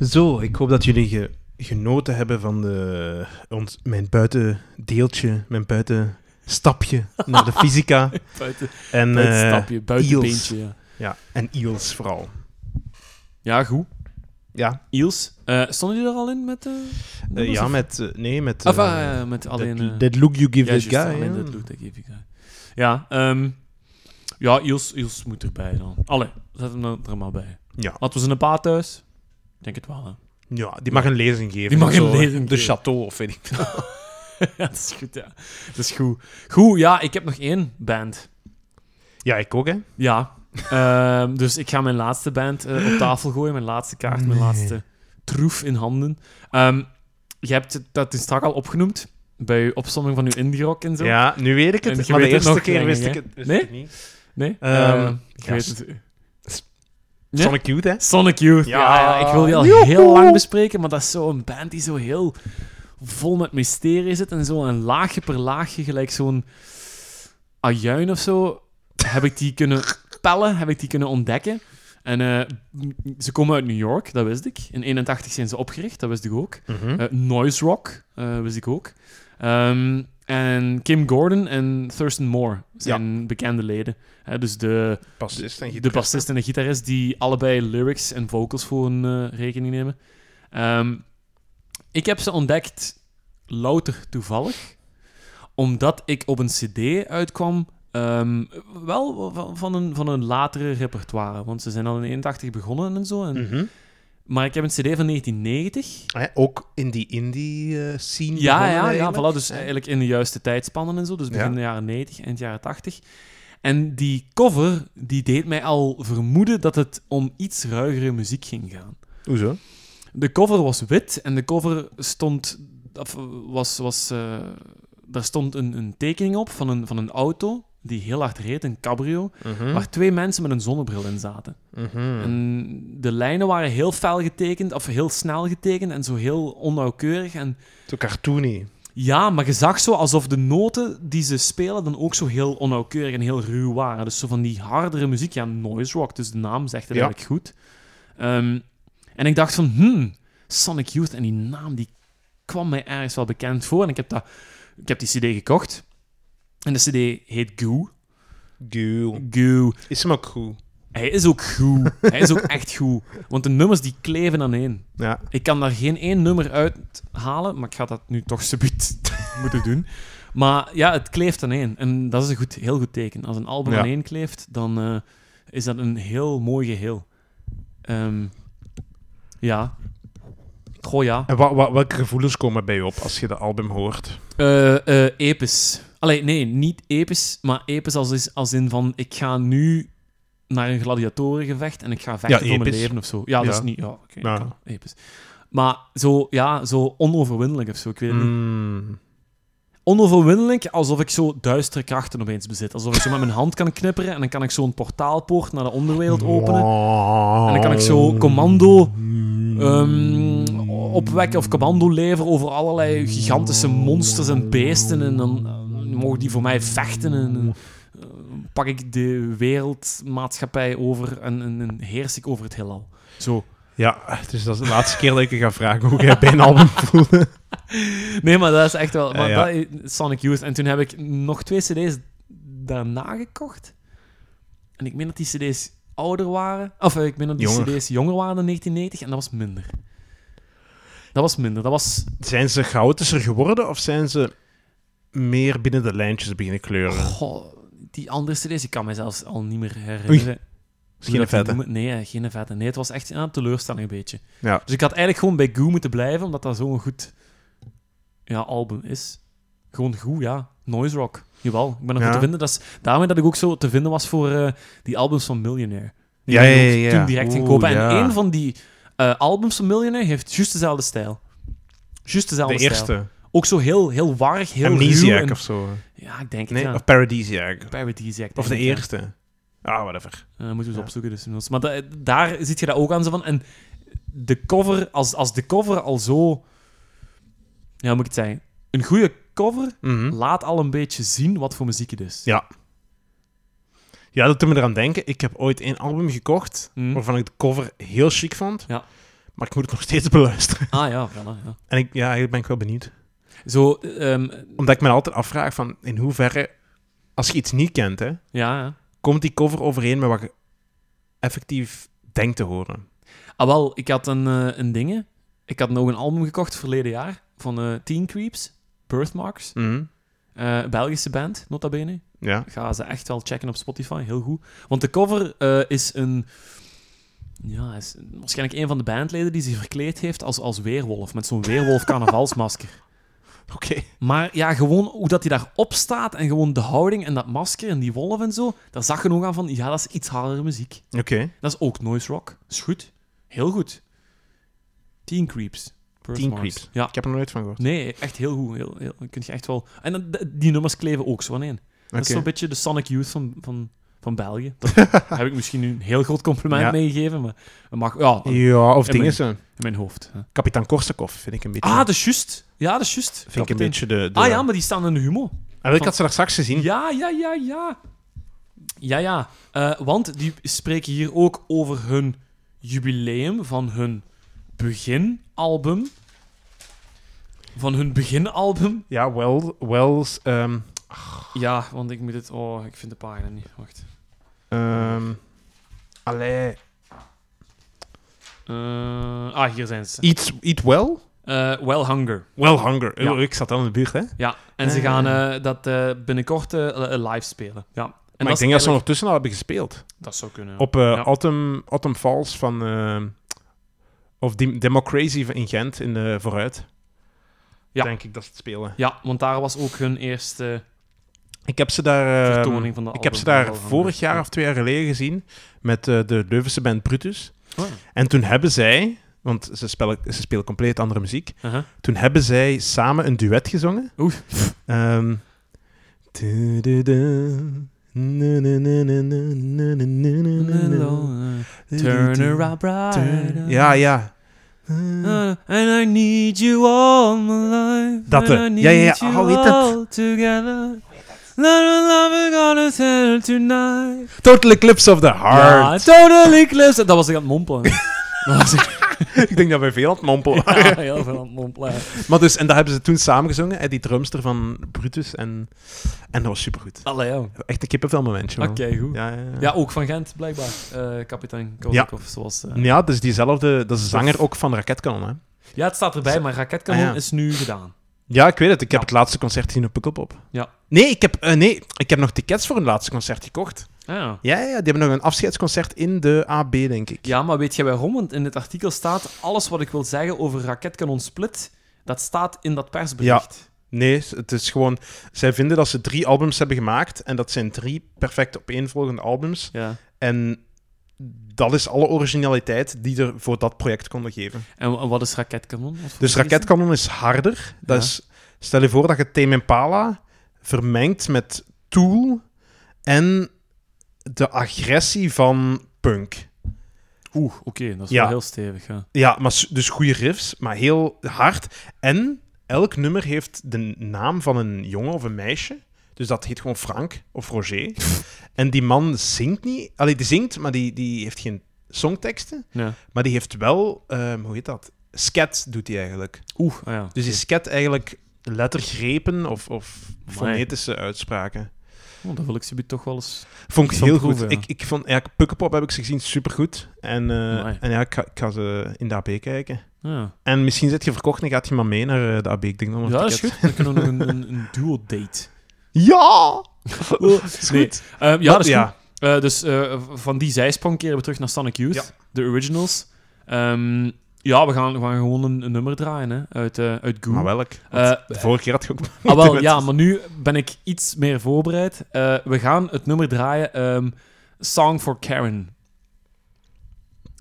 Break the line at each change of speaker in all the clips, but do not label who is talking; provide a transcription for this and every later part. Zo, ik hoop dat jullie ge- genoten hebben van de, ons, mijn buitendeeltje, mijn buitenstapje naar de fysica.
Buiten,
En,
buiten
eh,
stapje, buiten
eels.
beentje. Ja.
ja, en Eels vooral.
ja, goed.
Ja,
Iels, eh, stonden jullie er al in met... eh,
eh,
nummers,
ja
of-
met... eh, nee, met...
Of,
eh,
ah, ja, met alleen...
that,
eh,
that look you give
ja,
that
juist,
guy.
alleen
ja.
dat look, dat geef ik, ja. Ja, ehm, ja Iels, Iels moet erbij dan. Allee, zet hem er- er maar bij.
Ja.
Laten we ze een paar thuis? Ik denk het wel, hè.
Ja, die mag een lezing geven.
Die mag
of
een
zo.
lezing
De
geven.
Chateau, of weet ik veel.
ja, dat is goed, ja. Dat is goed. Goed, ja, ik heb nog één band.
Ja, ik ook, hè.
Ja. Ehm, dus ik ga mijn laatste band eh, op tafel gooien. Mijn laatste kaart, mijn
Nee.
laatste troef in handen. Ehm, je hebt het- dat is straks al opgenoemd. Bij je opsomming van uw indie rock en zo.
Ja, nu weet ik
En
het.
je
Maar de
weet
eerste
het nog,
keer
denk
wist
ik,
ik
hè?
het wist
Nee?
ik niet.
Nee?
Ehm,
Ehm, ik
ja,
weet
s-
het. Ja?
Sonic Youth, hè.
Sonic Youth. Ja,
Ja.
ja, ik wil die al
Joehoe.
heel lang bespreken, maar dat is zo'n band die zo heel vol met mysterie zit. En zo een laagje per laagje, gelijk zo'n ajuin of zo, heb ik die kunnen pellen, heb ik die kunnen ontdekken. En eh, m- ze komen uit New York, dat wist ik. In 81 zijn ze opgericht, dat wist ik ook.
Mhm.
Eh, noise Rock, eh, wist ik ook. Ehm, en Kim Gordon en Thurston Moore zijn bekende leden. Hè, dus de
Bassist en
de
gitarist.
bassist en de gitarist die allebei lyrics en vocals voor hun eh, rekening nemen. Ehm, ik heb ze ontdekt louter toevallig, omdat ik op een CD uitkwam. ehm, wel van- van een, van een latere repertoire, want ze zijn al in 81 begonnen en zo. En,
Mhm.
Maar ik heb een CD van 1990.
Hè, ook in die indie eh, scene.
Ja,
begonnen
ja, ja
eigenlijk.
voilà, dus eigenlijk in de juiste tijdspannen en zo. Dus begin
Ja.
de jaren 90, eind jaren 80. En die cover, die deed mij al vermoeden dat het om iets ruigere muziek ging gaan.
Hoezo?
De cover was wit en de cover stond... Of was, was, eh, daar stond een, een tekening op van een, van een auto die heel hard reed, een cabrio,
Mhm.
waar twee mensen met een zonnebril in zaten.
Mhm.
En de lijnen waren heel fel getekend, of heel snel getekend en zo heel onnauwkeurig. En
Zo cartoony.
ja, maar je zag zo alsof de noten die ze spelen dan ook zo heel onnauwkeurig en heel ruw waren. Dus zo van die hardere muziek, ja, noise rock, dus de naam zegt het
Ja.
eigenlijk goed. Ehm, en ik dacht van, hmm, Sonic Youth en die naam, die kwam mij ergens wel bekend voor. En ik heb, dat, ik heb die cd gekocht. En de cd heet Goo.
Gul.
Goo.
Is hem ook goed.
Hij is ook goed. Hij is ook echt goed. Want de nummers die kleven aan één.
Ja.
Ik kan daar geen één nummer uit halen, maar ik ga dat nu toch subiet moeten doen. Maar ja, het kleeft aan één. En dat is een goed, heel goed teken. Als een album
Ja.
aan één kleeft, dan eh, is dat een heel mooi geheel. Ehm, ja. Goh, ja.
En wa- wa- welke gevoelens komen bij je op als je dat album hoort?
Eh, eh, episch. Allee, nee, niet episch, maar episch als, is- als in van... Ik ga nu naar een gladiatorengevecht en ik ga vechten
Ja,
voor mijn
episch.
leven of zo. Ja, dat
Ja.
is niet... Ja, oké,
Ja.
kan, episch. Maar zo, ja, zo onoverwinnelijk of zo, ik weet het niet.
Mm.
onoverwinnelijk, alsof ik zo duistere krachten opeens bezit. Alsof ik zo met mijn hand kan knipperen en dan kan ik zo'n portaalpoort naar de
Mm.
onderwereld openen. En dan kan ik zo commando ehm, opwekken of commando leveren over allerlei gigantische monsters en beesten. En dan eh, mogen die voor mij vechten en eh, pak ik de wereldmaatschappij over en, en, en heers ik over het heelal. Zo.
Ja, dus dat is de laatste keer dat ik je ga vragen hoe jij bij een album voelde.
Nee, maar dat is echt wel... Maar
Ja,
dat is Sonic Youth. En toen heb ik nog twee cd's daarna gekocht. En ik meen dat die cd's ouder waren. Of eh, ik meen dat die
Jonger.
cd's jonger waren dan 1990. En dat was minder. Dat was minder. Dat was...
Zijn ze goutischer geworden of zijn ze meer binnen de lijntjes beginnen
Oh,
kleuren?
Goh, die andere cd's, ik kan me zelfs al niet meer herinneren.
Misschien een
Hoe dat die
vette.
noemen- Nee, eh, geen vette. Nee, het was echt ja, een teleurstelling een beetje.
Ja.
Dus ik had eigenlijk gewoon bij Goo moeten blijven, omdat dat zo'n goed ja, album is. Gewoon Goo, ja. Noise rock. Jawel, ik ben nog
Ja.
goed te vinden. Dat is daarmee dat ik ook zo te vinden was voor eh, die albums van Millionaire. Die
Ja,
ben ik
ja,
ook
ja, ja.
toen direct ging
Oeh,
kopen.
ja.
En één van die eh, albums van Millionaire heeft juist dezelfde stijl. Juist dezelfde
De
stijl.
eerste.
Ook zo heel, heel warrig, heel ruw.
Amnesiac
en-
of zo.
Ja, ik denk het,
Nee,
ja.
of Paradisiac.
Paradisiac,
Of de
denk ik, ja.
eerste. Ah, whatever.
Eh, dan moeten we ze
Ja.
opzoeken. Dus. inmiddels. Maar da- daar zit je dat ook aan. Zo van. En de cover, als, als de cover al zo. Ja, hoe moet ik het zeggen? Een goede cover
Mhm.
laat al een beetje zien wat voor muziek het is.
Ja. Ja, dat doet me eraan denken. Ik heb ooit één album gekocht
Mhm.
waarvan ik de cover heel chic vond.
Ja.
Maar ik moet het nog steeds beluisteren.
Ah ja, voilà, ja.
En ik, ja, eigenlijk ben ik wel benieuwd.
Zo, ehm,
Omdat ik me altijd afvraag van in hoeverre, als je iets niet kent, hè,
ja, ja.
komt die cover overeen met wat je effectief denkt te horen.
Ah, wel, ik had een, eh, een ding. Ik had nog een album gekocht verleden jaar van eh Teen Creeps, Birthmarks.
Mhm.
Eh, Belgische band, nota bene.
Ja.
Ga ze echt wel checken op Spotify, heel goed. Want de cover eh, is een... Ja, is waarschijnlijk een van de bandleden die zich verkleed heeft als, als weerwolf. Met zo'n weerwolf-carnavalsmasker.
Oké.
Maar ja, gewoon hoe dat hij daarop staat en gewoon de houding en dat masker en die wolf en zo, daar zag je nog aan van, ja, dat is iets hardere muziek.
Oké.
Dat is ook noise rock. Is goed. Heel goed. Teen Creeps. Birth
Teen
Mars.
Creeps.
Ja.
Ik heb er nooit van gehoord.
Nee, echt heel goed. Heel, heel, dan kun je echt wel... En dat- dat- die nummers kleven ook zo aan één. Dat is
Oké.
zo'n beetje de Sonic Youth van, van, van België. Daar heb ik misschien nu een heel groot compliment
Ja.
meegegeven, maar dat mag... Ja, in
Ja, of
En
dingen zijn.
mijn hoofd. hè.
Kapitein Korsakov vind ik een beetje.
Ah, dat is juist. Ja, dat is juist.
vind ik een
Kapitein.
beetje de. de-
Ah ja, maar die staan in de humo.
Ah, ik had ze daar straks gezien.
Ja, ja, ja, ja. Ja, ja. Eh, want die spreken hier ook over hun jubileum van hun beginalbum. Van hun beginalbum.
Ja, wel, Wells. ehm,
Ja, want ik moet het... Oh, ik vind de pagina niet. Wacht.
ehm, allee.
Eh, ah, hier zijn ze.
Eat, eat well?
Eh, well Hunger.
Well hunger.
Ja.
Oh, Ik zat al in de buurt, hè?
Ja, en ze
Eh.
gaan eh, dat eh, binnenkort eh, eh, live spelen. Ja. En
maar ik
is
denk dat ze
eigenlijk-
ondertussen al hebben gespeeld.
Dat zou kunnen. ja.
Op eh,
Ja.
Autumn, Autumn Falls van. ehm, of Dem- Democracy in Gent in de vooruit.
Ja.
Denk ik dat ze het spelen.
Ja, want daar was ook hun eerste
Ik heb ze daar. ehm,
vertoning van de
ik heb
album
ze
van
daar
Well Hunger.
vorig jaar
Ja.
of twee jaar geleden gezien. Met eh, de Leuvense band Brutus.
Oh.
En toen hebben zij, want ze spelen, ze spelen compleet andere muziek,
Uh-huh.
toen hebben zij samen een duet gezongen.
Oeh.
Ehm, du-du-du, nu-nu-nu-nu-nu-nu-nu-nu-nu.
uh, Turn around
Turn-
bright.
Ja, ja.
Uh, And I need you all my life.
Dat,
And
eh,
I need
ja, ja, ja.
you
Oh, weet dat.
all Together. Not a love we're gonna tell tonight.
Total Eclipse of the
Ja,
Heart.
totally close. Dat was ik aan het mompelen. Dat was ik
ik denk dat wij veel aan het mompelen waren.
ja, heel veel aan het mompelen.
Maar dus, en dat hebben ze toen samen gezongen, eh, die drumster van Brutus. En, en dat was supergoed.
Allee, joh.
Echt een kippenvelmomentje. man.
Oké, goed. Ja.
Ja, ja, ja.
ook van Gent, blijkbaar. Eh, kapitein Kozakov, zoals... eh,
Ja, dus diezelfde, dat is de zanger ook van Raketkanon, hè?
Ja, het staat erbij, maar Raketkanon
Ah, ja.
is nu gedaan.
Ja, ik weet het. Ik heb
Ja.
het laatste concert gezien op Pukkelpop.
Ja.
Nee ik, heb, eh, nee, ik heb nog tickets voor hun laatste concert gekocht.
Ah, ja.
Ja, ja, ja, die hebben nog een afscheidsconcert in de AB, denk ik.
Ja, maar weet je waarom? Want in het artikel staat alles wat ik wil zeggen over raketkanon Split, dat staat in dat persbericht.
Nee, het is gewoon... Zij vinden dat ze drie albums hebben gemaakt. En dat zijn drie perfect opeenvolgende albums.
Ja.
En dat is alle originaliteit die er voor dat project konden geven.
En, wa- wat is raketkanon? Wat voor
Dus
muziek is dat?
Raketkanon is harder. Dat
Ja.
is, stel je voor dat je Tame Impala vermengt met Tool en de agressie van punk.
Oeh, oké, dat is
Ja.
wel heel stevig. Ja.
Ja, maar s- dus goede riffs, maar heel hard. En elk nummer heeft de naam van een jongen of een meisje. Dus dat heet gewoon Frank of Roger. en die man zingt niet. Allee, die zingt, maar die, die heeft geen songteksten.
Ja.
Maar die heeft wel, ehm, hoe heet dat? Scat doet hij eigenlijk.
Oeh, ah, ja.
Dus die scat eigenlijk lettergrepen of, of
Amai.
fonetische uitspraken.
Oh, dat wil ik ze toch wel eens.
Vond ik
Van
heel
proeven,
goed.
ja.
Ik, ik vond, ja, Pukkelpop heb ik ze gezien, supergoed. En, eh,
Amai.
en ja, ik ga, ik ga ze in de AP kijken.
Ja,
En misschien zit je verkocht en gaat je maar mee naar eh, de AB. Ik denk nog
ja dat is goed. Dan kunnen we nog een, een, een duo-date.
Ja! is
Nee.
goed.
Eh, ja, dat is
Oh, Ja.
goed. Eh, dus eh, v- van die zijsprong keren we terug naar Sonic Youth,
Ja.
de originals. Ehm, ja, we gaan, we gaan gewoon een, een nummer draaien hè, uit, eh uit Goo.
Maar welk?
Eh,
Want de vorige keer had je ook...
Ah, wel,
met-
ja, maar nu ben ik iets meer voorbereid. Eh, we gaan het nummer draaien, ehm, Song for Karen.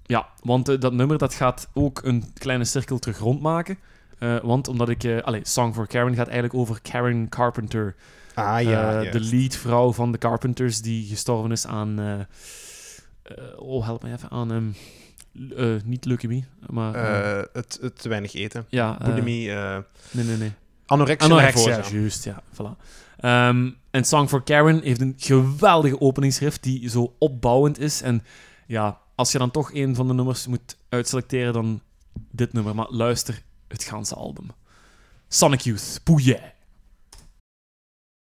Ja, want eh, dat nummer dat gaat ook een kleine cirkel terug rondmaken. Eh, want omdat ik... eh allee, Song for Karen gaat eigenlijk over Karen Carpenter.
Ah, ja.
eh,
ja.
de leadvrouw van de Carpenters die gestorven is aan... eh, eh, oh, help me even. Aan... ehm, l- eh, niet leukemie, maar... eh,
Eh, het, het te weinig eten.
ja, eh,
Bulimie. eh,
nee, nee, nee.
anorexia.
Anorexia,
nervosa.
juist, ja. Voilà. Ehm, en Song for Karen heeft een geweldige openingsriff die zo opbouwend is. En ja, als je dan toch een van de nummers moet uitselecteren, dan dit nummer, maar luister het ganse album. Sonic Youth, Pouillet.